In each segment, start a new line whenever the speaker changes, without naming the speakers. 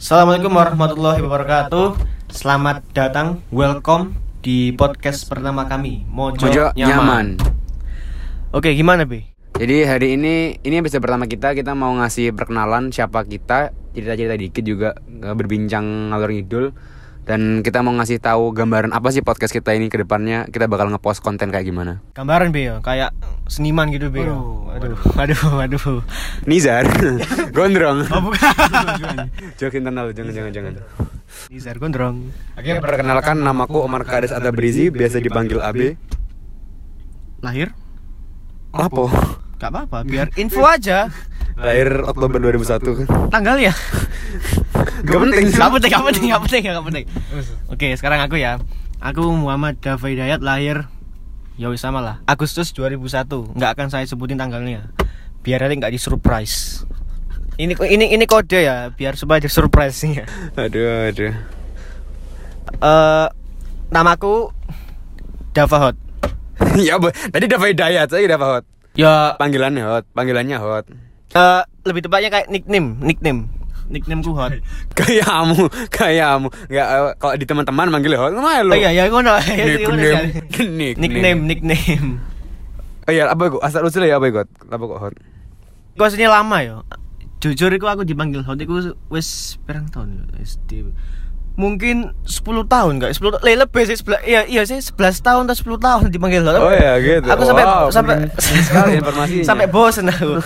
Assalamualaikum warahmatullahi wabarakatuh. Selamat datang, welcome di podcast pertama kami, Mojo,
Mojo
Nyaman.
nyaman.
Oke, gimana Bi?
Jadi hari ini ini episode pertama kita kita mau ngasih perkenalan siapa kita cerita-cerita dikit juga nggak berbincang ngalor ngidul dan kita mau ngasih tahu gambaran apa sih podcast kita ini ke depannya kita bakal ngepost konten kayak gimana.
Gambaran Bi, ya? kayak seniman gitu Bi. ya? Aduh, aduh, aduh.
Nizar, gondrong.
Oh, bukan.
Jok internal jangan jangan jangan.
Nizar Gondrong.
Oke, perkenalkan namaku Omar Kades Atabrizi, biasa dipanggil AB.
Lahir?
Apa?
Gak apa-apa, biar info aja.
Lahir Oktober 2001.
Tanggal ya?
Gak penting.
Gak penting, gak penting, gak penting, gak penting. Oke, sekarang aku ya. Aku Muhammad Dafa Hidayat lahir ya wis sama lah. Agustus 2001. Nggak akan saya sebutin tanggalnya. Biar nanti nggak disurprise. Ini ini ini kode ya, biar supaya ada surprise-nya.
Aduh, aduh.
Eh namaku Dafa Hot.
ya, Bo. tadi Dava Hidayat, saya Dava Hot.
Ya
Panggilannya Hot, panggilannya Hot.
eh, lebih tepatnya kayak nickname, nickname. Nicknameku Hot.
Kayamu, kayamu. Enggak eh, kalau di teman-teman manggil Hot, mah lo.
Oh iya, ya ngono. Ya, ngono sih.
Nickname.
Nickname, nickname.
Oh iya, apa kok asal usul ya apa kok? Apa kok Hot?
Kok aslinya lama ya? Jujur iku aku dipanggil Hot iku wis pirang tahun ya? SD. Mungkin 10 tahun enggak? 10 le lebih sih 11 iya iya sih 11 tahun atau 10 tahun dipanggil Hot.
Oh iya, gitu.
Aku sampai
Wow,
sampai
penting sekali informasinya.
sampai bosen aku.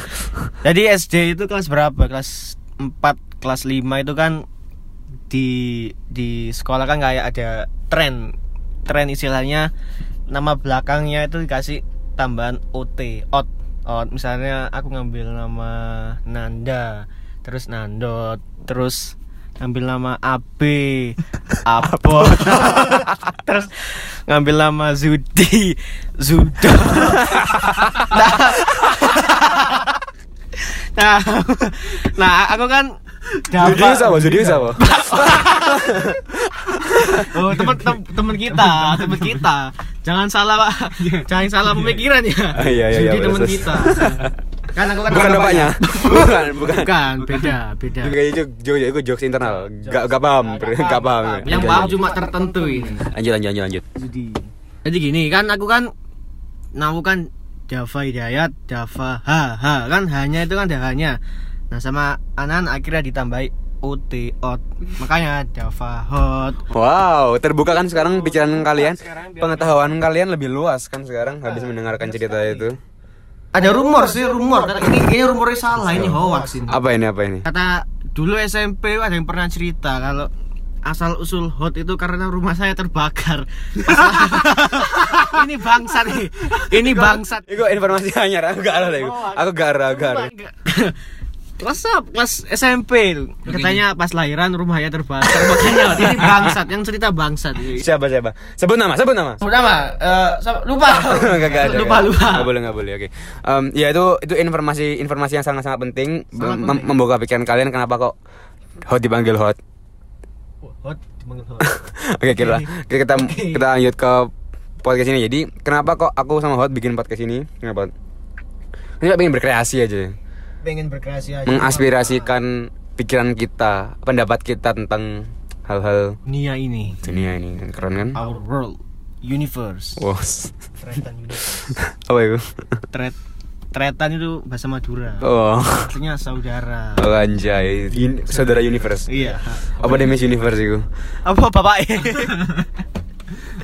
Jadi SD itu kelas berapa? Kelas 4, kelas 5 itu kan di di sekolah kan kayak ada tren. Tren istilahnya nama belakangnya itu dikasih tambahan OT, out. Out misalnya aku ngambil nama Nanda, terus Nandot, terus ngambil nama AB, Apo, terus ngambil nama Zudi, Zudo. nah, nah, nah, aku kan
Judius Ya, apa? Iya. Judius apa?
Oh, teman
iya.
tem- teman kita, teman kita. Jangan salah, Pak. Jangan salah pemikiran ya.
Iya. Ah, iya, iya, iya,
Jadi teman
beres.
kita. Kan aku kan
Bukan
teman
bapaknya. Bukan, bukan.
Bukan, beda, beda.
Juga itu jokes itu jokes internal. Gak gak paham, gak paham.
Yang paham cuma tertentu ini.
Lanjut lanjut lanjut lanjut.
Jadi gini, kan aku kan namaku kan Java Hidayat, Java H, H kan hanya itu kan ada hanya. Nah, sama Anan akhirnya ditambahi OT, OT. Makanya Java Hot.
Wow, terbuka kan sekarang pikiran kalian, pengetahuan kalian lebih luas kan sekarang habis mendengarkan cerita itu.
Ada rumor sih, rumor. Karena Ini ini rumornya salah, ini hoax ini.
Apa ini apa ini?
kata dulu SMP ada yang pernah cerita kalau asal usul hot itu karena rumah saya terbakar. ini bangsat nih. Ini bangsat.
Iku informasi anyar, aku gak ada iku. Oh, Aku gak ada, gak ada.
Kelas apa? kelas SMP itu. Katanya pas lahiran rumahnya terbakar. Makanya Hot, ini bangsat, yang cerita bangsat.
Siapa siapa? Sebut nama, sebut nama.
Udah mah, Eh, lupa.
Gak- gak ada,
lupa,
gak-
lupa.
Gak boleh, gak boleh. Oke. Em, ya itu itu informasi informasi yang sangat-sangat penting mem- membuka pikiran kalian kenapa kok hot dipanggil hot.
Hot, dipanggil hot.
Oke, kira kita kita, kita lanjut ke podcast ini. Jadi, kenapa kok aku sama hot bikin podcast ini? Kenapa? Kita pengen berkreasi aja.
Pengen berkreasi aja.
Hmm, Mengaspirasikan pikiran kita, pendapat kita tentang hal-hal
Dunia ini,
dunia ini. Keren kan?
our world, universe.
Wow.
Tretan universe.
Apa itu?
Tret Tretan itu bahasa Madura.
Oh.
Artinya saudara.
Oh, anjay. Un- saudara universe.
Iya.
Apa dia Miss Universe itu?
Apa bapak?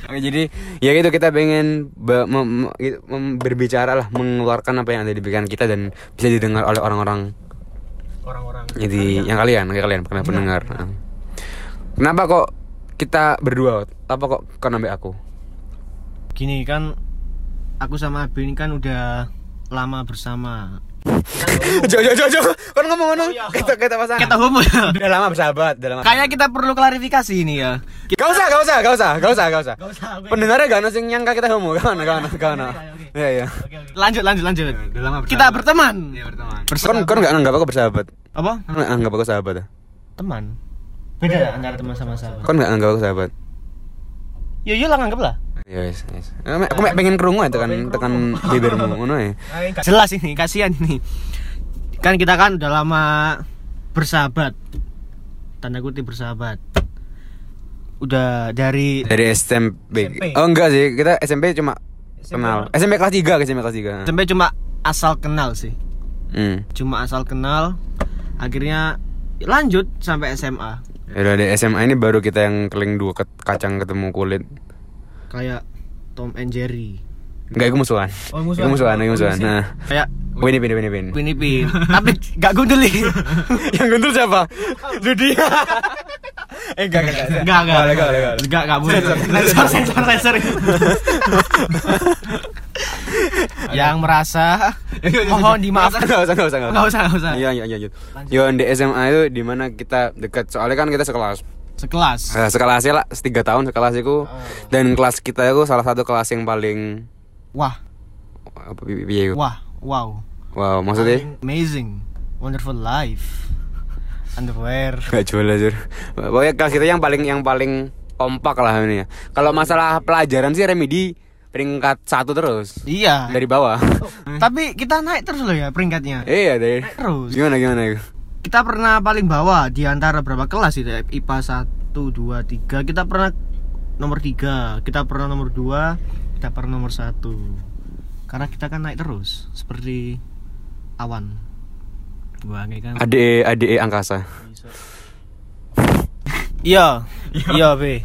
Oke, jadi ya gitu kita pengen be- mem- gitu, mem- berbicara lah mengeluarkan apa yang ada di pikiran kita dan bisa didengar oleh orang-orang
Orang-orang.
jadi yang kalian yang kalian pernah pendengar Nah. kenapa kok kita berdua apa kok kau nambah aku
Gini kan aku sama Abi ini kan udah lama bersama.
jauh jauh jauh jauh kau ngomong ngomong kita Oh, iya. kita pasangan
Kita homo ya.
udah lama bersahabat udah lama
Kayaknya kita perlu klarifikasi ini ya. Kita
Gak usah, gak usah, gak usah, gak usah, gitu. gak usah.
usah, ya. oke.
Pendengarnya gak ada yang nyangka kita homo, gak ada, gak ada, gak ada. Iya, iya.
lanjut lanjut lanjut. Kita Iya, berteman.
Kan
Bersahabat.
kan gak anggap aku bersahabat.
Apa?
Kan gak anggap aku sahabat. ya?
Teman. Beda ya antara teman sama sahabat.
Kan gak anggap aku sahabat.
Ya iyalah nganggep lah.
Ya wis, wis. Aku mek- aku mek pengen kerungu ya tekan tekan bibirmu ngono ya.
jelas ini kasihan ini kan kita kan udah lama bersahabat tanda kutip bersahabat udah dari
Dari SMP.
SMP.
Oh enggak sih, kita SMP cuma
SMP
kenal. SMP kelas 3, SMP kelas 3.
SMP cuma asal kenal sih
Hmm.
cuma asal kenal akhirnya lanjut sampai SMA
Ya Udah di SMA ini baru kita yang keling dua ket- kacang ketemu kulit.
kayak Tom and Jerry
Enggak, itu musuhan.
Oh,
Itu musuhan, itu musuhan. Nah.
kayak
Win, win, win, win.
Pini Pin tapi gak gunduli
Yang guntur siapa? Judi. eh enggak enggak.
Enggak, enggak.
Boleh, boleh, boleh.
Enggak, enggak boleh. Sensor, sensor, sensor. Yang merasa
Iya,
mohon dimaafkan.
Enggak usah, enggak usah, enggak
Enggak usah, enggak usah.
Iya, iya, iya. Yo, di SMA itu di mana kita dekat. Soalnya kan kita sekelas.
Sekelas.
Nah, sekelasnya lah, tiga tahun sekelas aku. Dan kelas kita itu salah satu kelas yang paling
Wah,
apa pi- piye iku?
wah, wow.
Wow, maksudnya
Amazing. Wonderful life. Underwear.
Gak jelas Jur. Pokoknya kelas kita yang paling yang paling kompak lah ini ya. Kalau masalah pelajaran sih Remedi peringkat satu terus
Iya.
dari bawah.
Tapi kita naik terus loh ya peringkatnya.
Iya dari
Terus.
gimana gimana itu?
Kita pernah paling bawah di antara berapa kelas itu ya? IPA 1 2 3. Kita pernah nomor 3, kita pernah nomor 2, kita pernah nomor 1. Karena kita kan naik terus seperti awan. Wah, kayak kan.
Ade Ade E, angkasa.
Iya. Iya, Be.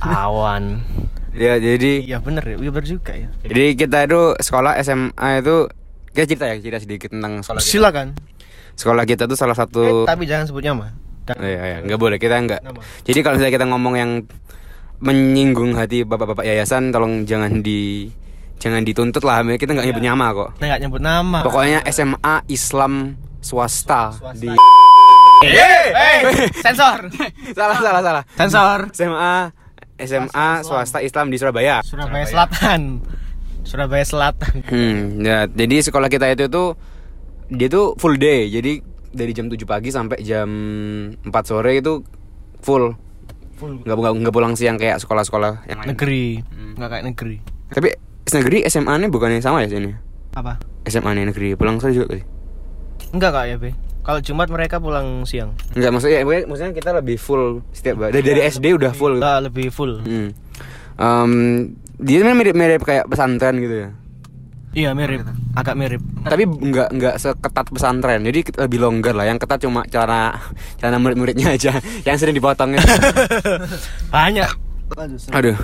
Awan.
Ya jadi
Iya bener ya, iya bener juga ya.
jadi kita itu sekolah SMA itu kita cerita ya cerita sedikit tentang
gitu.
sekolah kita.
Silakan.
Sekolah kita tuh salah satu
Tapi jangan sebutnya mah.
Oh, iya, iya. nggak boleh kita nggak.
Nama.
Jadi kalau misalnya kita ngomong yang menyinggung hati bapak-bapak yayasan, tolong jangan di jangan dituntut lah. Kita nggak nyebut nama kok.
Kita nggak nyebut nama.
Pokoknya SMA Islam swasta, di
Eh, sensor.
salah salah salah
Sensor.
SMA SMA swasta Islam di Surabaya.
Surabaya Selatan. Surabaya Selatan.
Hmm, ya, jadi sekolah kita itu tuh dia tuh full day. Jadi dari jam 7 pagi sampai jam 4 sore itu full.
Full.
Nggak, nggak, nggak pulang siang kayak sekolah-sekolah yang lain.
Negeri.
Hmm.
Nggak kayak negeri.
Tapi negeri SMA-nya bukannya sama ya sini?
Apa?
SMA-nya negeri pulang sore juga kali.
Enggak kak ya, Be. Kalau Jumat mereka pulang siang.
Enggak maksudnya pokoknya- maksudnya kita lebih full setiap dari, dari SD udah full.
Kita lebih full.
Hmm. Em, dia sebenarnya mirip-mirip kayak pesantren gitu ya.
Iya, mirip. Agak mirip.
Tapi nggak nggak seketat pesantren. Jadi lebih longgar lah. Yang ketat cuma cara cara murid-muridnya aja yang sering dipotongnya.
Banyak.
Aduh.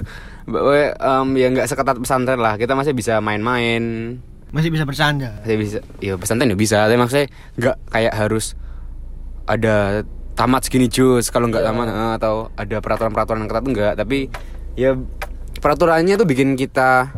Pokoknya, em, ya nggak seketat pesantren lah. Kita masih bisa main-main.
Masih bisa bercanda.
Saya bisa, ya pesantren ya bisa, tapi maksudnya nggak kayak harus ada tamat segini jus kalau nggak tamat eh, atau ada peraturan-peraturan yang ketat enggak, tapi ya peraturannya tuh bikin kita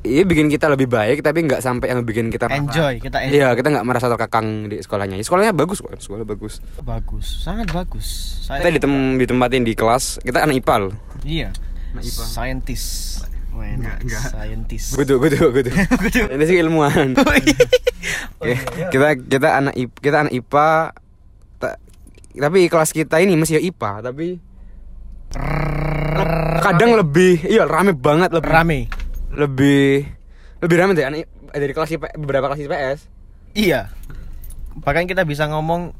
Iya bikin kita lebih baik tapi nggak sampai yang bikin kita merasa-
Enjoy, kita enjoy.
Iya kita nggak merasa terkekang di sekolahnya. Ya, sekolahnya bagus kok, sekolah bagus.
Bagus, sangat bagus. Saya
Kita ditem ditempatin di kelas, kita anak IPA loh.
Iya.
Nah,
Scientist. Enggak, enggak. Scientist.
Gudu, gudu, gudu. Ini sih ilmuwan. Oke, kita kita anak I- kita anak IPA ta- tapi kelas kita ini masih ya IPA tapi kadang lebih iya rame banget lebih
Rame.
lebih lebih rame dari anak I- dari kelas IPA, beberapa kelas IPS
Iya. Bahkan kita bisa ngomong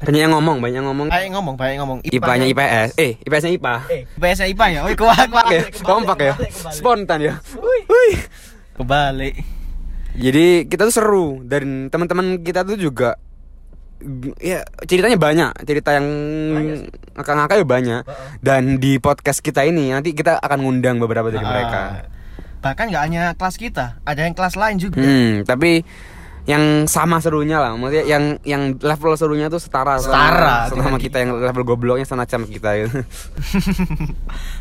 banyak yang ngomong banyak yang ngomong
Banyak ngomong, banyak ngomong.
IPA-nya IPS eh IPS-nya IPA
Eh, IPS-nya IPA ya? Wih, kuat, kuat.
Oke, kompak ya spontan ya Wih.
Kebalik.
Jadi kita tuh seru dan teman-teman kita tuh juga mm, ya ceritanya banyak, cerita yang ngakak-ngakak ya banyak. Dan di podcast kita ini nanti kita akan ngundang beberapa dari
Ah.
mereka.
Bahkan nggak hanya kelas kita, ada yang kelas lain juga.
Hmm, tapi yang sama serunya lah, maksudnya yang yang level serunya tuh setara
Setara, tinggal
sama, sama kita yang level gobloknya sama sama kita gitu.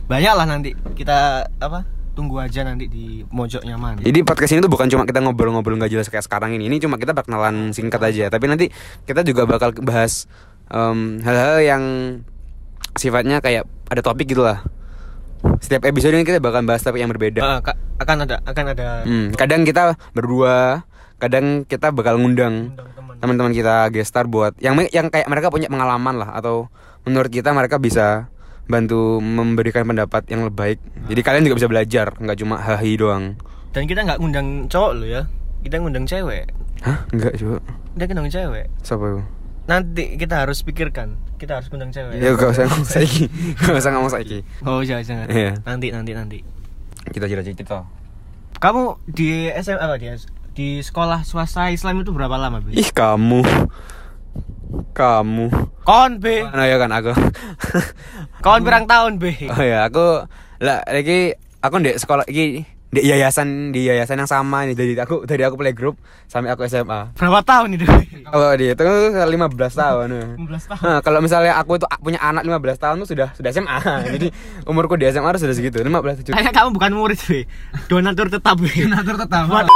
Banyak lah nanti. Kita apa? Tunggu aja nanti di mojok nyaman.
Jadi podcast ini tuh bukan cuma kita ngobrol-ngobrol nggak jelas kayak sekarang ini. Ini cuma kita perkenalan singkat aja. Tapi nanti kita juga bakal bahas em, hal-hal yang sifatnya kayak ada topik gitu lah. Setiap episode ini kita bakal bahas topik yang berbeda.
Ah, ka- akan ada akan ada
Hmm, kadang kita berdua, kadang kita bakal ngundang
undang teman.
teman-teman kita gestar buat yang yang kayak mereka punya pengalaman lah atau menurut kita mereka bisa bantu memberikan pendapat yang lebih baik. Jadi kalian juga bisa belajar, nggak cuma hahi doang.
Dan kita nggak ngundang cowok lo ya. Kita ngundang cewek.
Hah? Enggak juga.
Kita ngundang cewek.
Siapa itu?
Nanti kita harus pikirkan. kita harus undang cewek.
Ya gak usah ngomong saiki. Gak usah ngomong saiki.
Oh jangan jangan.
Iya.
Nanti nanti nanti.
Kita cerita cerita.
Kamu di SMA apa di di sekolah swasta Islam itu berapa lama bi?
Ih kamu. Kamu.
Kon bi,
Nah ya kan aku.
kon berang tahun bi.
oh ya aku lah lagi aku di sekolah iki di yayasan di yayasan yang sama nih dari aku dari aku playgroup sampai aku SMA.
Berapa tahun itu? Bi?
Kalau Oh, di itu 15 tahun. ya.
15 tahun.
Nah, kalau misalnya aku itu punya anak 15 tahun tuh sudah sudah SMA. Jadi umurku di SMA harus sudah segitu, 15 17.
Tanya kamu bukan murid bi, donatur tetap bi.
Donatur tetap.
Buat-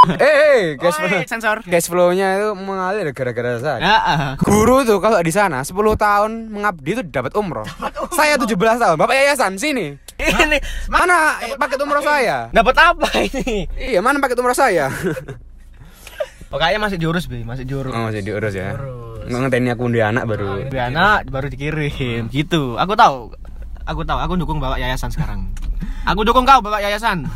Eh, eh, cash flow.
Oi, sensor.
Cash flow-nya itu mengalir gara-gara saya.
Ya, ah.
Guru tuh kalau di sana 10 tahun mengabdi itu dapat umroh. Saya 17 tahun. Bapak yayasan sini.
ini
Mana paket umroh saya?
dapat apa ini?
Iya, mana paket umroh saya?
Pokoknya masih diurus bi, masih diurus.
Oh, masih diurus ya. Nggak ngenteni aku undi anak
Oh,
baru.
iya,
Bi anak baru
Hmm.
dikirim gitu. Aku tahu. Aku tahu, aku dukung Bapak Yayasan sekarang. Aku dukung kau Bapak Yayasan.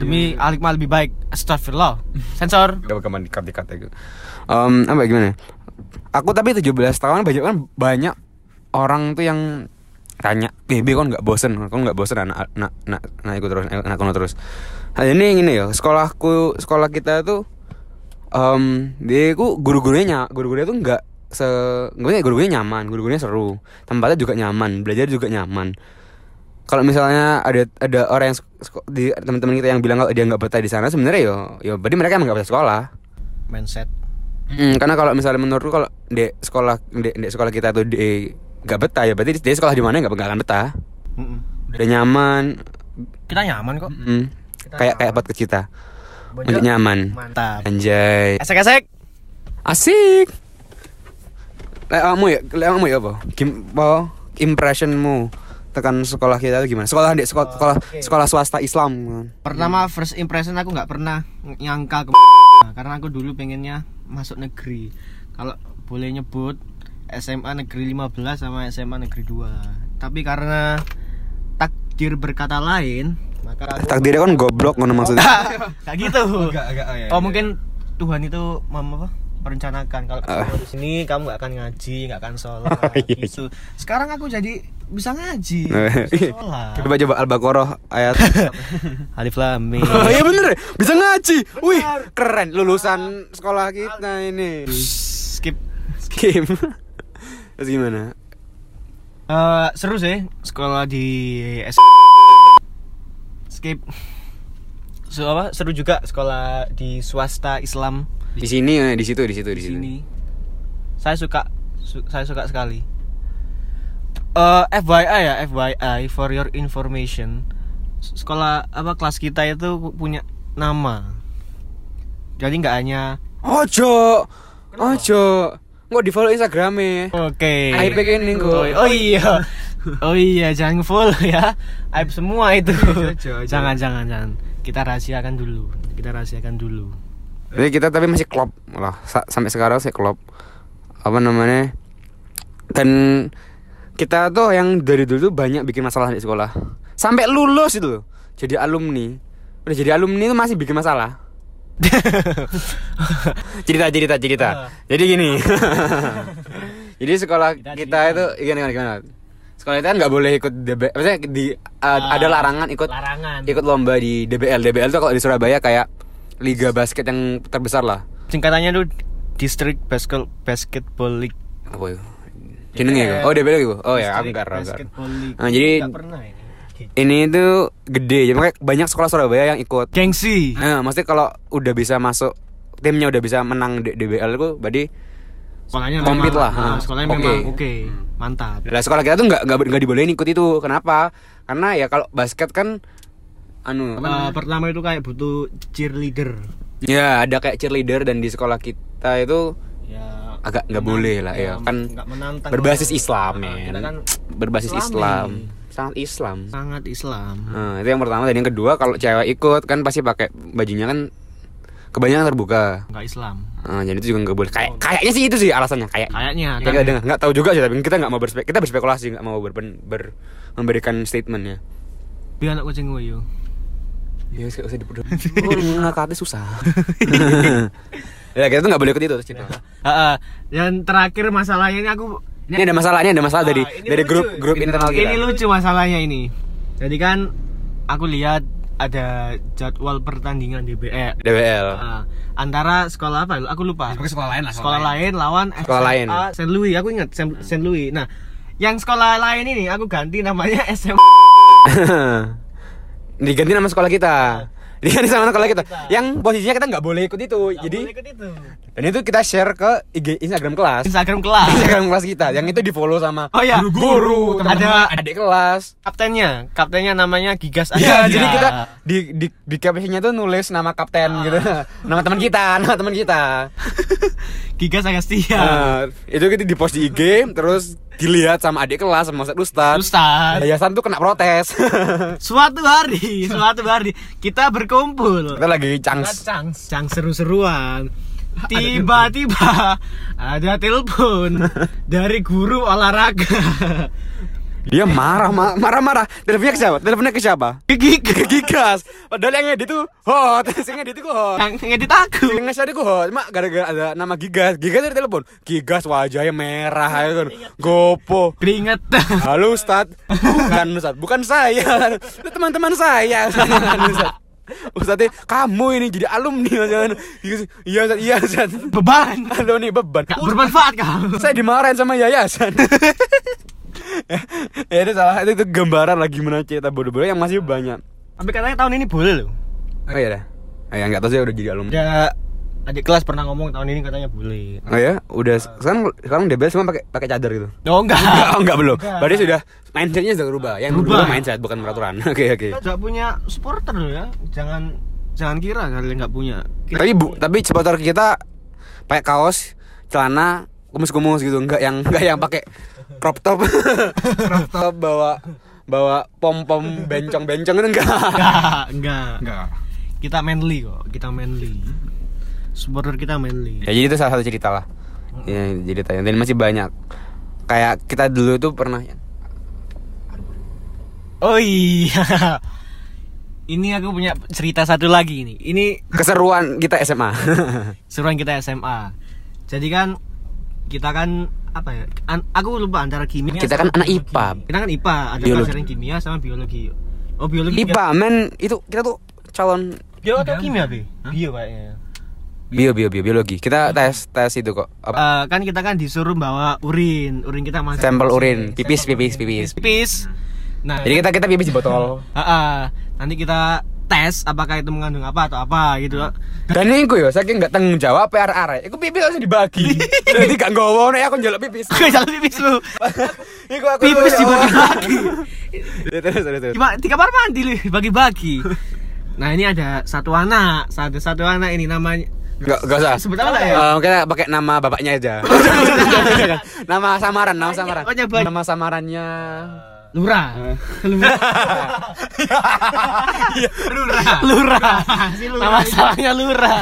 Demi
Iya.
Alikma lebih baik. Astagfirullah. Sensor.
Gak bakalan dikat dikat ya gitu. Em, apa ya, gimana? ya? Aku tapi 17 tahun banyak kan banyak orang tuh yang tanya, "Eh, Bi, kon nggak bosen? Kon nggak bosen anak anak anak, anak ikut terus, anak kono terus." Nah, ini gini ya, sekolahku sekolah kita tuh em dia ku guru-gurunya ny- guru-gurunya tuh nggak se gimana ya, guru-gurunya nyaman, guru-gurunya seru. Tempatnya juga nyaman, belajar juga nyaman. Kalau misalnya ada ada orang yang sek- di teman-teman kita yang bilang kalau dia nggak betah di sana sebenarnya yo yo berarti mereka emang nggak betah sekolah.
Mindset.
Hmm, karena kalau misalnya menurutku kalau di sekolah di, di sekolah kita tuh di nggak betah ya berarti dia sekolah di mana nggak nggak akan betah.
Mm-mm.
Udah nyaman,
Kita nyaman kok.
mm, kayak kayak buat kita untuk
Iya.
nyaman.
Mantap.
Anjay,
Esek-esek.
asik. Lewatmu ya, lewatmu ya apa? Gim, apa impressionmu tekan sekolah kita tuh gimana? Sekolah
Oh,
di sekolah sekolah, sekolah swasta Islam.
Pertama first impression aku nggak pernah ng- nyangka ke karena aku dulu pengennya masuk negeri. Kalau boleh nyebut SMA Negeri 15 sama SMA Negeri 2. Tapi karena takdir berkata lain, maka aku
Takdirnya kan goblok ngono maksudnya.
Kayak gitu.
Enggak, enggak. ya, ya.
Oh mungkin Tuhan itu mem- apa? merencanakan kalau kamu di sini kamu nggak akan ngaji, nggak akan sholat gitu. Sekarang aku jadi bisa ngaji, bisa sholat.
Coba coba Al-Baqarah ayat
Alif Lam Mim.
Oh iya bener, ya? bisa ngaji. Wih, keren lulusan sekolah kita ini.
Skip.
Skim. Terus gimana?
Eh, seru sih sekolah di S Skip. So, apa? Seru juga sekolah di swasta Islam
Di sini ya, di situ, di situ, di
di
situ.
sini. Saya suka su- saya suka sekali. Eh FYI ya, FYI for your information. S- Sekolah apa kelas kita itu pu- punya nama. Jadi nggak hanya
Ojo. Ojo. Nggak di-follow Instagramnya
Oke.
Aib ini
Oh,
kok.
oh iya. Oh iya, jangan follow ya. Aib semua itu.
Iya,
jangan, jangan.
Jangan jangan jangan. Kita rahasiakan dulu. Kita rahasiakan dulu.
Jadi kita tapi masih klop lah Sa- sampai sekarang sih klop. Apa namanya? Dan kita tuh yang dari dulu tuh banyak bikin masalah di sekolah. Sampai lulus itu loh. Jadi alumni. Udah jadi alumni itu masih bikin masalah. cerita cerita cerita. Jadi gini. jadi sekolah kita, itu gimana gimana, gimana? Sekolah kita kan nggak boleh ikut DBL. Maksudnya di a- ada larangan ikut
Larangan.
Kan. ikut lomba di DBL. DBL tuh kalau di Surabaya kayak liga basket yang terbesar lah.
Singkatannya tuh District Basket Basketball League.
Apa itu? Jenenge ya? Oh DBL itu. Oh ya, aku nggak tahu, nggak tahu.
Basketball League.
Nah, jadi
Nggak pernah ini.
ini itu gede. Jadi makanya banyak sekolah Surabaya yang ikut.
Gengsi.
Nah, maksudnya kalau udah bisa masuk timnya udah bisa menang di DBL itu berarti
Sekolahnya
Komplit
memang-
lah, ha.
ah, sekolahnya
Oke.
memang oke. Mantap.
Lah sekolah kita tuh nggak nggak nggak dibolehin ikut itu. Kenapa? Karena ya kalau basket kan anu
Eh, pertama itu kayak butuh cheerleader.
ya ada kayak cheerleader dan di sekolah kita itu
Ya
agak nggak boleh lah ya kan
nggak menantang
berbasis Islam
Ah,
men.
kita kan
berbasis
Islami.
Islam sangat Islam
sangat Islam.
Nah, itu yang pertama dan yang kedua kalau cewek ikut kan pasti pakai bajunya kan kebanyakan terbuka
Enggak Islam.
Nah, jadi itu juga nggak boleh kayak kayaknya sih itu sih alasannya kayak
Kayaknya
kita
kan.
nggak dengar nggak tahu juga sih tapi kita nggak mau berspek kita berspekulasi nggak mau berpen- ber, memberikan statementnya
Biar anak kucing gue yuk. Iya,
ya nggak Oh,
Nah,
usah diperdebat ngakati susah ya kita tuh nggak boleh ikut itu terus cerita
Heeh. Dan terakhir masalahnya ini aku
Ini ada masalah, ini ada masalah dari
Ah, ini
dari
lucu.
grup grup
Ini-
internal kita.
Ini lucu masalahnya ini. Jadi kan aku lihat ada jadwal pertandingan DBE
DBL.
Ah, antara sekolah apa? Aku lupa.
Pokoknya sekolah lain lah.
Sekolah lain lawan
Sekolah lain.
St. Louis. Aku ingat Saint Saint Louis. Nah, yang sekolah lain ini aku ganti namanya SMA.
Diganti nama sekolah kita.
Iya.
Diganti sama sekolah kita. Yang posisinya kita nggak boleh ikut itu.
Nggak
Jadi
boleh ikut itu.
dan itu kita share ke IG Instagram kelas.
Instagram kelas.
Instagram kelas kita. Yang itu di follow sama
Oh ya,
guru,
ada
teman-teman, adik kelas.
kaptennya. Kaptennya namanya Gigas Aja.
Iya, jadi kita di di di captionnya tuh nulis nama kapten
Ah.
gitu, nama teman kita, nama teman kita.
Gigas Agustia.
Nah, itu kita di post di IG, terus dilihat sama adik kelas, sama Ustadz Ustadz.
Ustaz.
Yayasan tuh kena protes.
Suatu hari, suatu hari kita berkumpul.
kita lagi cangs.
Cang, cang seru-seruan. Tiba-tiba ada telepon dari guru olahraga.
Dia marah, ma- marah-marah. Teleponnya ke siapa? Teleponnya ke siapa? Ke
Gigi
Gigas. Padahal yang edit tuh hot, yang edit tuh hot.
yang ngedit aku.
Yang ngasih adikku hot, cuma gara-gara ada nama Gigas. Gigas dari telepon. Gigas wajahnya merah ya kan. Gopo.
Keringet.
Halo Ustad, bukan Ustad, bukan saya, itu teman-teman saya. Ustad, Ustadnya kamu ini jadi alumni jangan, iya Ustad, iya Ustad.
Beban.
Halo nih beban.
Gak bermanfaat kamu.
Saya dimarahin sama yayasan. ya itu salah itu, itu gambaran lagi gimana cerita bodoh-bodoh yang masih banyak.
Tapi katanya tahun ini boleh loh.
Oh iya dah. Oh, ya nggak tahu saya udah jadi alumni.
Ada adik kelas pernah ngomong tahun ini katanya boleh.
Oh ya, udah sekarang sekarang DBL semua pakai pakai cadar gitu.
Oh
Enggak,
enggak.
oh, enggak belum. Berarti sudah mindsetnya sudah berubah. Yang
Berubah.
berubah mindset bukan peraturan. Oke oke.
Kita nggak punya supporter loh ya. Jangan jangan kira kalian nggak punya. Kita-
tapi bu, tapi supporter kita pakai kaos celana kumis-kumis gitu nggak yang nggak yang pakai crop top crop top bawa bawa pom pom bencong bencong itu enggak
Enggak, enggak.
Enggak.
Kita manly kok. Kita manly. Supporter kita manly.
ya jadi itu salah satu cerita lah ya jadi tanya dan masih banyak kayak kita dulu itu pernah ya,
Oh iya. Ini aku punya cerita satu lagi ini. Ini
keseruan kita SMA
seruan kita SMA. Jadi kan kita kan apa ya? an- aku lupa antara kimia.
kita
sama-
kan anak IPA
kita kan IPA, ada
Biologi.
pelajaran kimia sama biologi. Oh, biologi.
IPA men itu kita tuh calon
Bio atau kimia, Bi? Bio ya. kayaknya.
bio bio bio biologi kita tes tes itu kok apa
Eh, kan kita kan disuruh bawa urin. Urin kita masih
sampel urin pipis pipis pipis
pipis. Nah,
jadi kita kita pipis di botol
Ah, ah. nanti kita tes apakah itu mengandung apa atau apa gitu.
Dan ini aku ya, saking gak tanggung jawab PR arek. Aku pipis langsung dibagi. Jadi gak ngowo nek aku njaluk pipis.
Oke, jalan pipis lu.
Iku aku
Pipis
ya Allah.
dibagi-bagi.
Terus terus terus.
Di kamar mandi lu, bagi-bagi. Nah, ini ada satu anak, satu satu anak ini namanya
Enggak enggak usah.
Sebut apa Oh, iya, lah ya?
Eh, kita pakai nama bapaknya aja. nama samaran,
Oh,
nama samaran.
banyak, banyak.
Nama samarannya.
Lura. Lura. Iya. Lura. Si Lura. Nama salahnya Lura.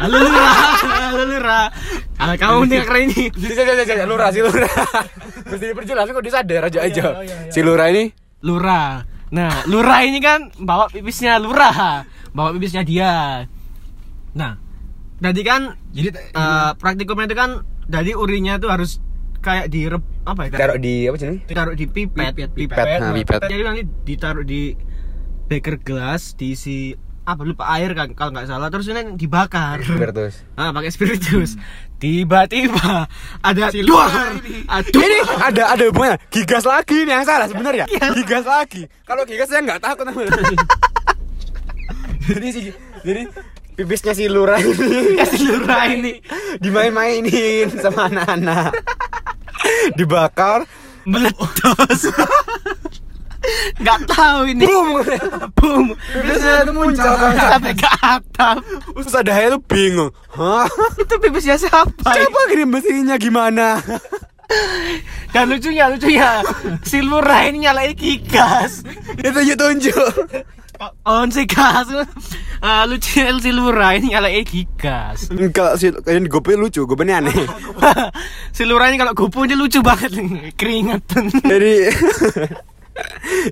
Halo Lura. Halo Lura. Kalau kamu nih keren ini.
Jadi jadi jadi jadi, Lura si Lura. Mesti diperjelas kok disadar aja aja.
oh, iya, iya.
Si Lura ini
Lura. Nah, Lura ini kan bawa pipisnya Lura, bawa pipisnya dia. Nah, tadi kan jadi eh, praktikumnya itu kan dari urinnya itu harus kayak di apa ya?
taruh di apa sini?
ditaruh di pipet, pipet,
pipet. Nah, pipet.
Jadi nanti ditaruh di beker gelas diisi apa lupa air kan kalau nggak salah terus ini dibakar.
Bertus.
Ah, pakai spiritus. Tiba-tiba ada luar. Aduh.
Hmm. Ini ada ada hubungannya. Gigas lagi nih yang salah sebenarnya.
Iya.
Gigas lagi. Kalau gigas saya nggak takut sama Jadi si jadi pipisnya si Lura ini
kasih lura ini
dimain-mainin sama anak-anak. Dibakar,
meletus. Nggak tahu ini.
boom.
Boom.
Pipisnya itu muncul.
Sampai ke atap.
Ustaz Dahaya tuh bingung. Hah?
Itu pipisnya siapa?
Siapa kirim mesinnya gimana?
Dan lucunya, lucunya si lura ini nyalain kikas.
Itu tunjuk.
On si gas. Ah, lucu si Lura ini nyalain gigas.
Enggak sih, kayaknya gope lucu, gope aneh.
si Lura ini kalau gupu ini lucu banget keringetan.
Jadi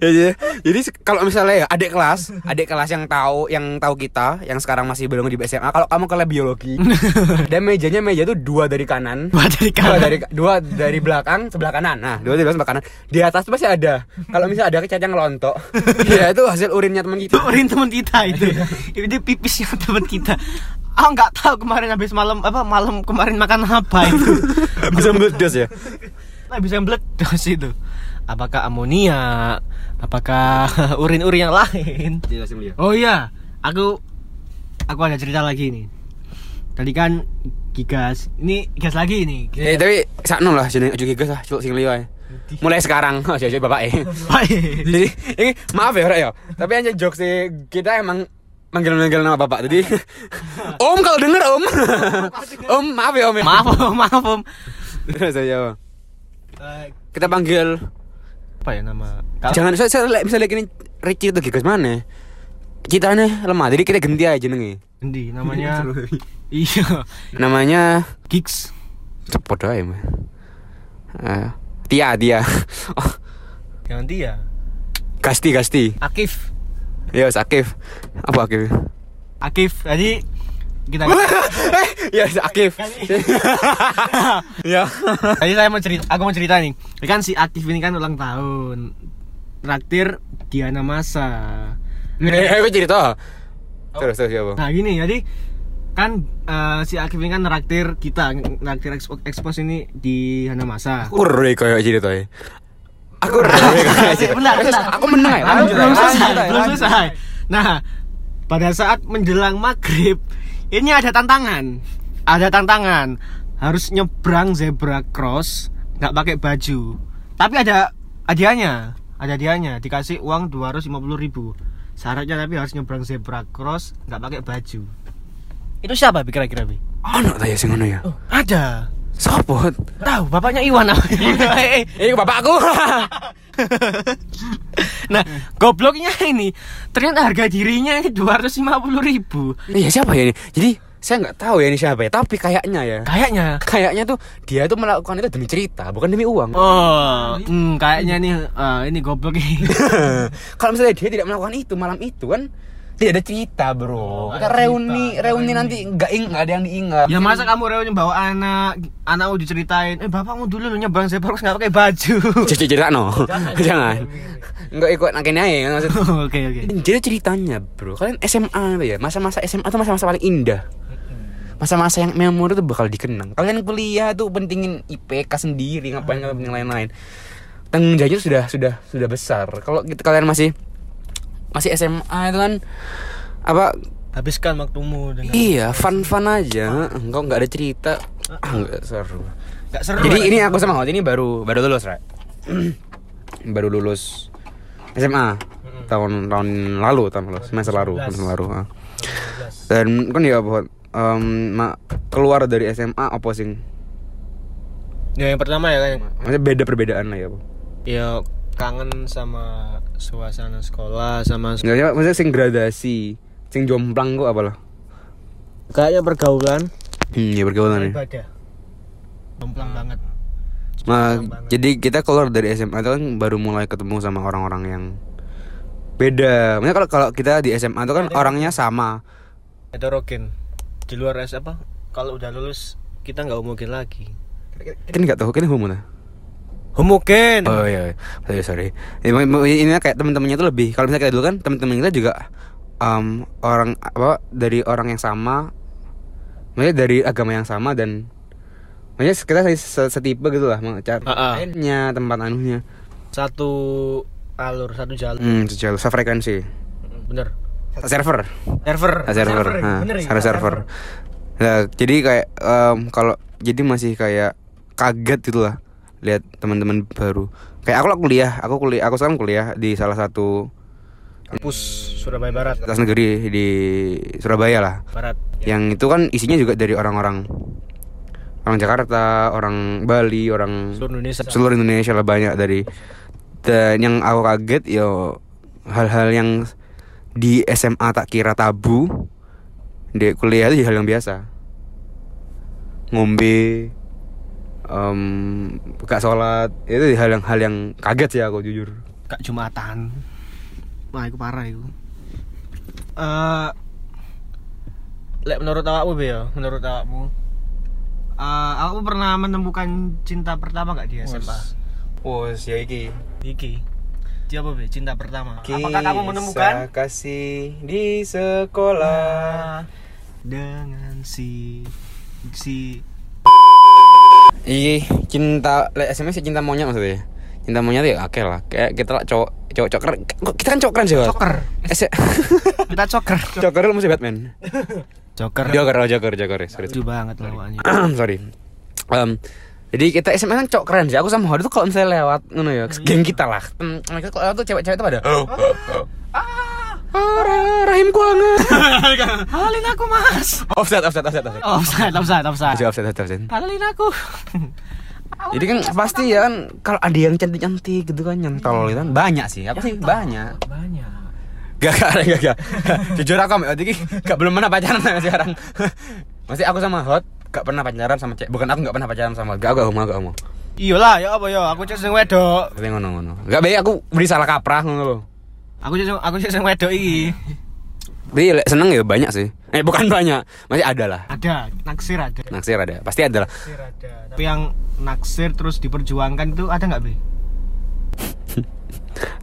Ya, jadi, jadi se- kalau misalnya ya adik kelas, adik kelas yang tahu yang tahu kita yang sekarang masih belum di SMA, kalau kamu ke lab biologi dan mejanya meja tuh dua dari kanan,
Dua dari
dua
kanan.
dari dua dari belakang sebelah kanan. Nah, dua dari belakang sebelah kanan. Di atas tuh pasti ada. Kalau misalnya ada kecat yang ngelontok, ya itu hasil urinnya teman
itu
kita.
urin teman kita itu itu pipisnya teman kita aku nggak tahu kemarin habis malam apa malam kemarin makan apa itu
Bisa meledos ya.
nah, bisa meledos itu apakah amonia apakah urin-urin yang lain
Jelasin dia.
oh iya aku aku ada cerita lagi nih tadi kan gigas ini gigas lagi ini
Eh tapi sakno lah jeneng juga gas lah, cuk sing liyo ae. Mulai sekarang, aja aja bapak eh. Jadi ini maaf ya Rek ya, tapi hanya jokes sih kita emang manggil-manggil nama bapak tadi. om kalau denger om. om maaf ya om. ya.
maaf om maaf om
Terus aja, Om. Kita panggil
Eh, apa ya nama
jangan saya, saya lihat- misalnya gini Ricky itu gigas mana? Citanya lemah, jadi kita ganti aja jenenge.
Endi, namanya iya
Namanya
gigs
cepot aja. Om. Eh, Tia, Tia. Oh,
yang nanti ya
Gasti, Gasti.
akif
Ya, wes, Akif. Apa Akif?
Akif tadi kita
eh, ya wes, Akif. ya.
tadi saya mau cerita aku mau cerita nih Ya kan si Akif ini kan ulang tahun traktir Diana Masa
Eh, eh, gue cerita. Terus ya, terus siapa?
nah gini jadi kan eh, si Akif ini kan traktir kita traktir Expo- expose ini di Diana Masa
Aku re kayak cerita ya. Aku re kayak cerita.
Bentar,
Iya, Terus,
bentar.
Aku menang ya.
Belum-
lanjut,
belum
lanjut,
selesai,
lanjut,
belum
lanjut.
selesai. Nah, pada saat menjelang maghrib, ini ada tantangan. Ada tantangan, harus nyebrang zebra cross, nggak pakai baju. Tapi ada hadiahnya, ada hadiahnya. Dikasih uang 250.000 ribu. Syaratnya tapi harus nyebrang zebra cross, nggak pakai baju. Itu siapa Bi, kira-kira Bi?
Ono ta ya sing ngono ya.
Oh, Ada.
Sopo?
Tahu bapaknya Iwan namanya. Eh, eh.
Ini bapakku.
nah, gobloknya ini ternyata harga dirinya ini 250.000 ribu.
Iya siapa ya ini? Jadi saya nggak tahu ya ini siapa ya, tapi kayaknya ya.
Kayaknya.
Kayaknya tuh dia tuh melakukan itu demi cerita, bukan demi uang.
Oh, hmm, kayaknya nih eh, ini goblok ini.
Kalau misalnya dia tidak melakukan itu malam itu kan tidak ada Oh, cerita bro. Kita reuni, reuni nanti nggak ing, nggak ada yang diingat.
ya masa kamu reuni bawa anak, anakmu diceritain, eh bapakmu dulu lu nyebrang zebra cross nggak pakai baju.
Jadi cerita no, jangan. Nggak ikut nakenya ya maksud.
Oke oke.
Jadi ceritanya bro, kalian SMA tuh ya, masa-masa SMA tuh masa-masa paling indah Masa-masa yang memori tuh bakal dikenang Kalian kuliah tuh pentingin IPK sendiri, ngapain ngapain yang lain-lain Tanggung jawabnya sudah sudah sudah besar Kalau gitu, kalian masih masih SMA itu kan apa
Habiskan waktumu dengan
iya fun fun aja engkau nggak ada cerita ah nggak seru
nggak seru.
jadi ini aku sama Hot ini baru baru lulus, Ra. baru lulus SMA tahun tahun lalu tahun lalu semester lalu semester lalu. ah. Dan kan ya buat em, ma- keluar dari SMA apa sih?
Ya yang pertama ya kan,
Maksudnya beda perbedaan lah ya, Bu.
ya kangen sama suasana sekolah sama
Nggak, ya, maksudnya sing gradasi, sing jomplang kok apalah.
kayaknya pergaulan
Hmm, ya pergaulan ya.
ibadah. Jomplang banget.
Nah, jadi kita keluar dari SMA itu kan baru mulai ketemu sama orang-orang yang beda. Maksudnya kalau kalau kita di SMA itu kan orangnya sama.
heterogen di luar S apa kalau udah lulus kita nggak homogen lagi
Kan nggak tahu kan homo nah.
homogen
Oh iya, iya. sorry sorry. Ini, ini kayak teman-temannya tuh lebih. Kalau misalnya kita dulu kan teman-teman kita juga um, orang apa dari orang yang sama, maksudnya dari agama yang sama dan maksudnya kita se- setipe gitu lah, mau cara
Ah, ah.
mainnya, tempat anunya,
satu alur satu jalan
hmm, sejauh sefrekuensi,
bener
server,
server
server, nah,
bener ya?
server, server. Nah, jadi kayak um, kalau jadi masih kayak kaget gitu lah lihat teman-teman baru. Kayak aku lah kuliah, aku kuliah, aku sekarang kuliah di salah satu
kampus Surabaya Barat
atas negeri di Surabaya lah.
Barat
Yang itu kan isinya juga dari orang-orang orang Jakarta, orang Bali, orang
seluruh Indonesia
seluruh Indonesia lah banyak dari dan yang aku kaget yo hal-hal yang di SMA tak kira tabu di kuliah itu jadi hal yang biasa ngombe em gak sholat itu hal yang hal yang kaget sih aku jujur
gak jumatan wah itu parah itu Eh, lek menurut awakmu be ya menurut awakmu eh, awakmu pernah menemukan cinta pertama gak di SMA
Wes ya iki.
Iki dia apa be cinta pertama apakah kamu menemukan
Kisah kasih di
Ah.
sekolah?
dengan si si
Iya, cinta lek SMS ya cinta monyet maksudnya. Cinta monyet ya akeh lah. Kayak kita lah cowok cowok cowok keren. Kok Kita kan cowok keren Jawa.
Joker
Ese-
kita Joker
Cowok keren lu mesti Batman.
Joker
Joker, oh, Joker, Joker. ya. Sorry.
lucu banget lawannya
Sorry. Em, jadi kita SMS kan cowok keren sih. Aku sama Hodi tuh kalau misalnya lewat ngono ya, geng kita lah. Em, Mereka kalau lewat tuh cewek-cewek tuh pada Ah, ra- rahimku hangat.
Halalin aku mas Oh,
Offset, offset, offset, offset.
Offside, offside, offside
Offset, offset, offset.
Halalin aku
Jadi kan pasti ya kan kalau ada yang cantik-cantik gitu kan nyentol gitu kan banyak sih. Apa sih banyak?
Banyak
Gak, gak, gak, gak. Jujur aku sama Hot iki gak belum pernah pacaran sampai sekarang. Masih aku sama Hot gak pernah pacaran sama cewek. Bukan aku gak pernah pacaran sama Hot. Gak, aku gak mau, gak mau.
Iya lah, ya apa ya, aku cek sing wedok
Tapi ngono ngono. Gak baik aku beri salah kaprah ngono loh.
Aku cek aku cek sing wedok iki
Tapi lek seneng ya banyak sih. Eh bukan banyak, masih ada lah.
Ada, naksir ada
Naksir ada, pasti ada lah.
Naksir ada Tapi yang naksir terus diperjuangkan itu ada nggak Be?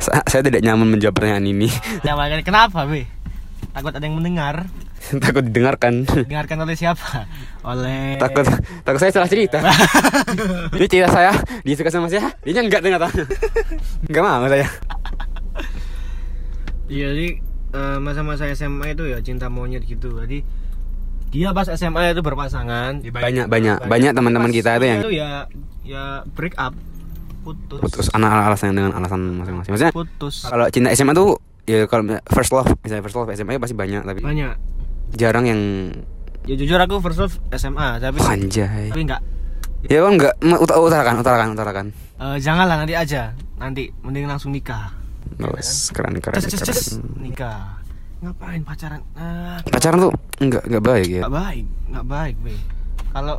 Sa- Saya tidak nyaman menjawab pertanyaan ini.
Jawabannya Ya, kenapa Be? Takut ada yang mendengar
takut didengarkan.
Dengarkan oleh siapa? Oleh
takut takut saya salah cerita. Ini cerita saya, dia suka sama saya, dia enggak dengar tahu. Enggak mau saya.
Iya, jadi eh, masa-masa SMA itu ya cinta monyet gitu. Jadi dia pas SMA itu berpasangan.
Iya, Banyak banyak banyak teman-teman
Pas
kita itu yang
itu ya ya break up, putus, putus.
putus anak alasan dengan alasan masing-masing. Maksudnya kalau cinta SMA tuh ya kalau misalnya first love misalnya first love SMA pasti banyak tapi
Banyak.
jarang yang
Ya jujur aku first love SMA, tapi
Wah, anjay.
tapi enggak.
Ya kan enggak ut- utarakan utarakan utarakan.
Eh, janganlah nanti aja. Nanti mending langsung nikah.
Wes, keren keren.
Cus, cus,
keren.
cus. Nikah. Ngapain pacaran? Ah,
Pacaran tuh enggak enggak baik ya.
nggak baik, nggak baik, Be. Kalau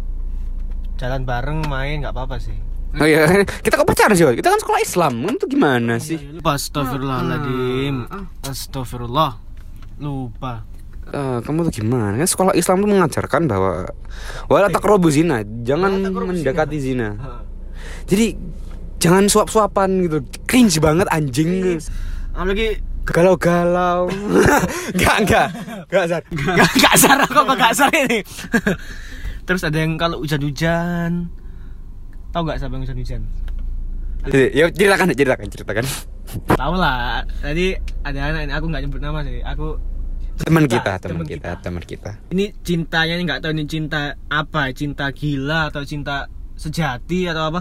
jalan bareng main nggak apa-apa sih.
Oh iya, kita kok pacaran sih? Wak? Kita kan sekolah Islam, kan tuh gimana sih?
Astagfirullahaladzim Astagfirullah Lupa
Eh, kamu tuh gimana? Kan sekolah Islam tuh mengajarkan bahwa wala taqrabu zina, jangan mendekati zina. Jadi jangan suap-suapan gitu. Cringe banget anjing.
Apalagi
Galau-galau. Enggak, enggak. Enggak, Zar.
Gak, gak sarah kok apa gak sarah ini Terus ada yang kalau hujan-hujan Tau gak siapa yang hujan-hujan?
Jadi, Ya ceritakan, ceritakan, ceritakan.
Tau lah Tadi ada anak ini aku gak nyebut nama sih Aku
Teman
Cinta,
kita,
teman
teman kita,
kita.
teman kita.
ini cintanya ini nggak tahu ini cinta apa ya, cinta gila atau cinta sejati atau apa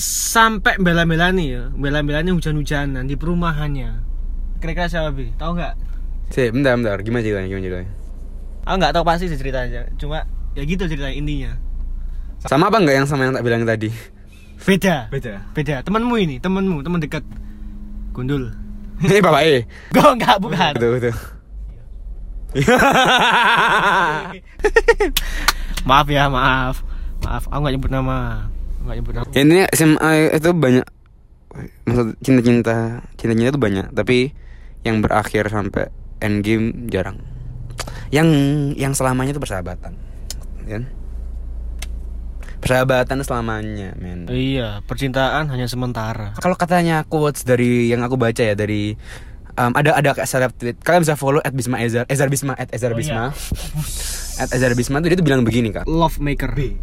sampai bela-belani ya bela-belani hujan-hujanan di perumahannya kira-kira siapa bi tahu nggak
Sih, bentar, bentar. Gimana ceritanya? Gimana ceritanya?
aku nggak tahu pasti sih ceritanya cuma ya gitu ceritanya intinya
Sama apa enggak yang sama yang tak bilang tadi?
beda
Beda.
beda temanmu ini temanmu teman dekat gundul
Ini bapak eh.
gue nggak bukan
Betul, betul.
maaf ya maaf maaf aku nggak nyebut nama nggak nyebut nama
Ini SMA itu banyak maksud cinta-cinta cinta-cinta itu banyak tapi yang berakhir sampai end game jarang yang yang selamanya itu persahabatan kan persahabatan selamanya men
iya percintaan hanya sementara
kalau katanya quotes dari yang aku baca ya dari um, ada ada kayak seleb tweet kalian bisa follow at bisma ezar ezar bisma at ezar
Oh,
bisma at ezar bisma tuh dia tuh bilang begini kak
love maker B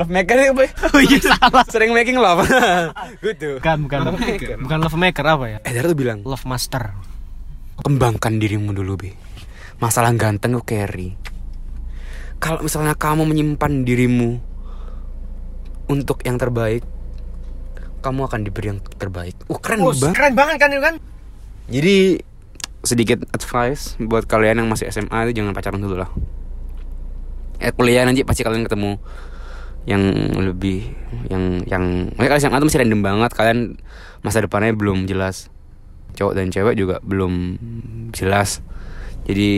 love maker itu apa?
oh iya salah
sering making love gitu
bukan bukan bukan love maker apa ya
Ezar tuh bilang
love master
kembangkan dirimu dulu be masalah ganteng lu carry kalau misalnya kamu menyimpan dirimu untuk yang terbaik kamu akan diberi yang terbaik uh keren banget
keren banget kan itu kan
jadi sedikit advice buat kalian yang masih SMA itu jangan pacaran dulu lah eh kuliah nanti pasti kalian ketemu yang lebih yang yang makanya kalian SMA itu masih random banget kalian masa depannya belum jelas cowok dan cewek juga belum jelas jadi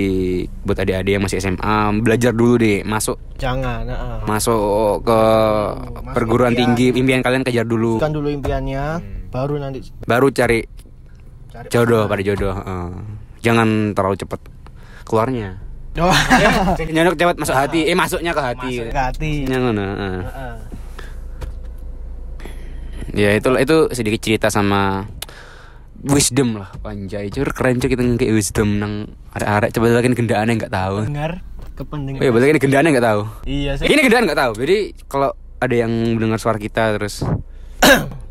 buat adik-adik yang masih SMA belajar dulu deh masuk
jangan ah.
masuk ke
Masuk
perguruan
impian.
tinggi impian kalian kejar dulu
dulu impiannya baru nanti
baru cari
cari
jodoh pada jodoh heeh. jangan terlalu cepet keluarnya
oh, Iya.
nyodok cepet masuk hati eh masuknya ke hati
masuk ke hati
Jangan, heeh.
Heeh.
ya itu itu sedikit cerita sama wisdom lah panjai cur keren cur kita ngekek wisdom nang arek-arek coba lagi gendaannya nggak tahu
dengar kepentingan
Eh, berarti ini gendaannya nggak tahu.
iya sih
Ini gendaan nggak tahu. Jadi kalau ada yang mendengar suara kita terus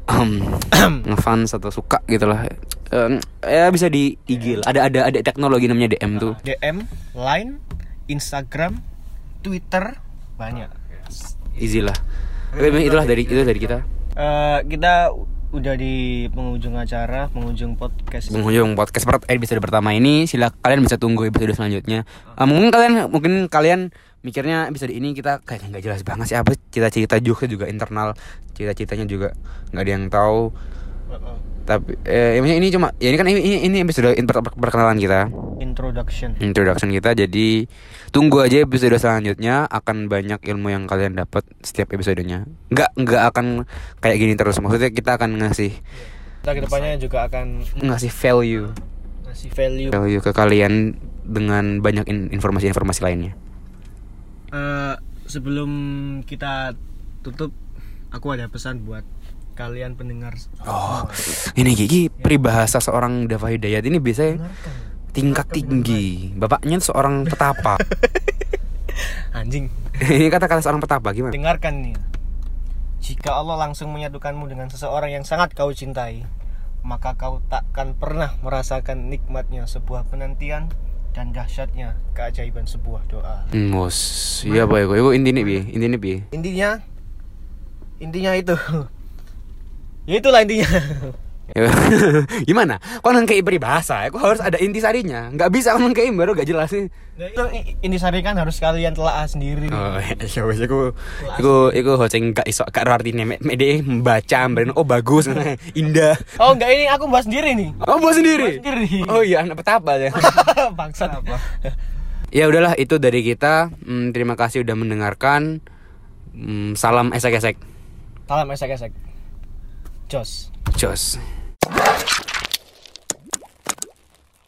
ahem, ngefans atau suka gitu lah. eh, ya bisa di IG lah. Ada ada ada teknologi namanya DM tuh.
DM Line Instagram Twitter banyak
Easy lah. Tapi itulah dari itu dari kita.
Eh, kita u- udah di penghujung acara penghujung podcast
Penghujung podcast per episode pertama ini sila kalian bisa tunggu episode selanjutnya. Eh, mungkin kalian mungkin kalian mikirnya episode ini kita kayak nggak jelas banget sih apa cerita-cerita juga juga internal cerita-ceritanya juga nggak ada yang tahu
Heeh.
tapi eh, maksudnya ini cuma ya ini kan ini ini, ini episode in- per- perkenalan kita
introduction
introduction kita jadi tunggu aja episode selanjutnya akan banyak ilmu yang kalian dapat setiap episodenya nggak nggak akan kayak gini terus maksudnya kita akan ngasih
kita kedepannya juga akan
ngasih value
ngasih value
value ke kalian dengan banyak in- informasi-informasi lainnya
Eh, sebelum kita tutup aku ada pesan buat kalian pendengar
oh ini gigi peribahasa seorang Dava Hidayat ini biasanya
Dengarkan.
tingkat tinggi bapaknya seorang petapa
anjing
ini kata-kata seorang petapa gimana
dengarkan nih jika Allah langsung menyatukanmu dengan seseorang yang sangat kau cintai maka kau takkan pernah merasakan nikmatnya sebuah penantian dan dahsyatnya keajaiban sebuah doa
Hmm, bos. Iya, boy. Gue intinya bi, intinya bi.
intinya intinya itu ya itulah intinya
Gimana? Kau nangkei peribahasa, kau harus ada intisarinya. Nggak bisa kau nangkei baru gak jelas sih.
itu intisari kan harus kalian telaah sendiri
Oh, ya wes aku aku aku hoceng gak iso gak ero artine me- mede membaca meren oh bagus indah.
oh enggak ini aku bahas sendiri nih
Oh, buat sendiri.
Buat sendiri.
Oh iya, anak petapa ya.
bangsa apa
ya udahlah itu dari kita. Hmm, terima kasih udah mendengarkan. Hmm, salam esek-esek.
salam esek esek jos
Jos.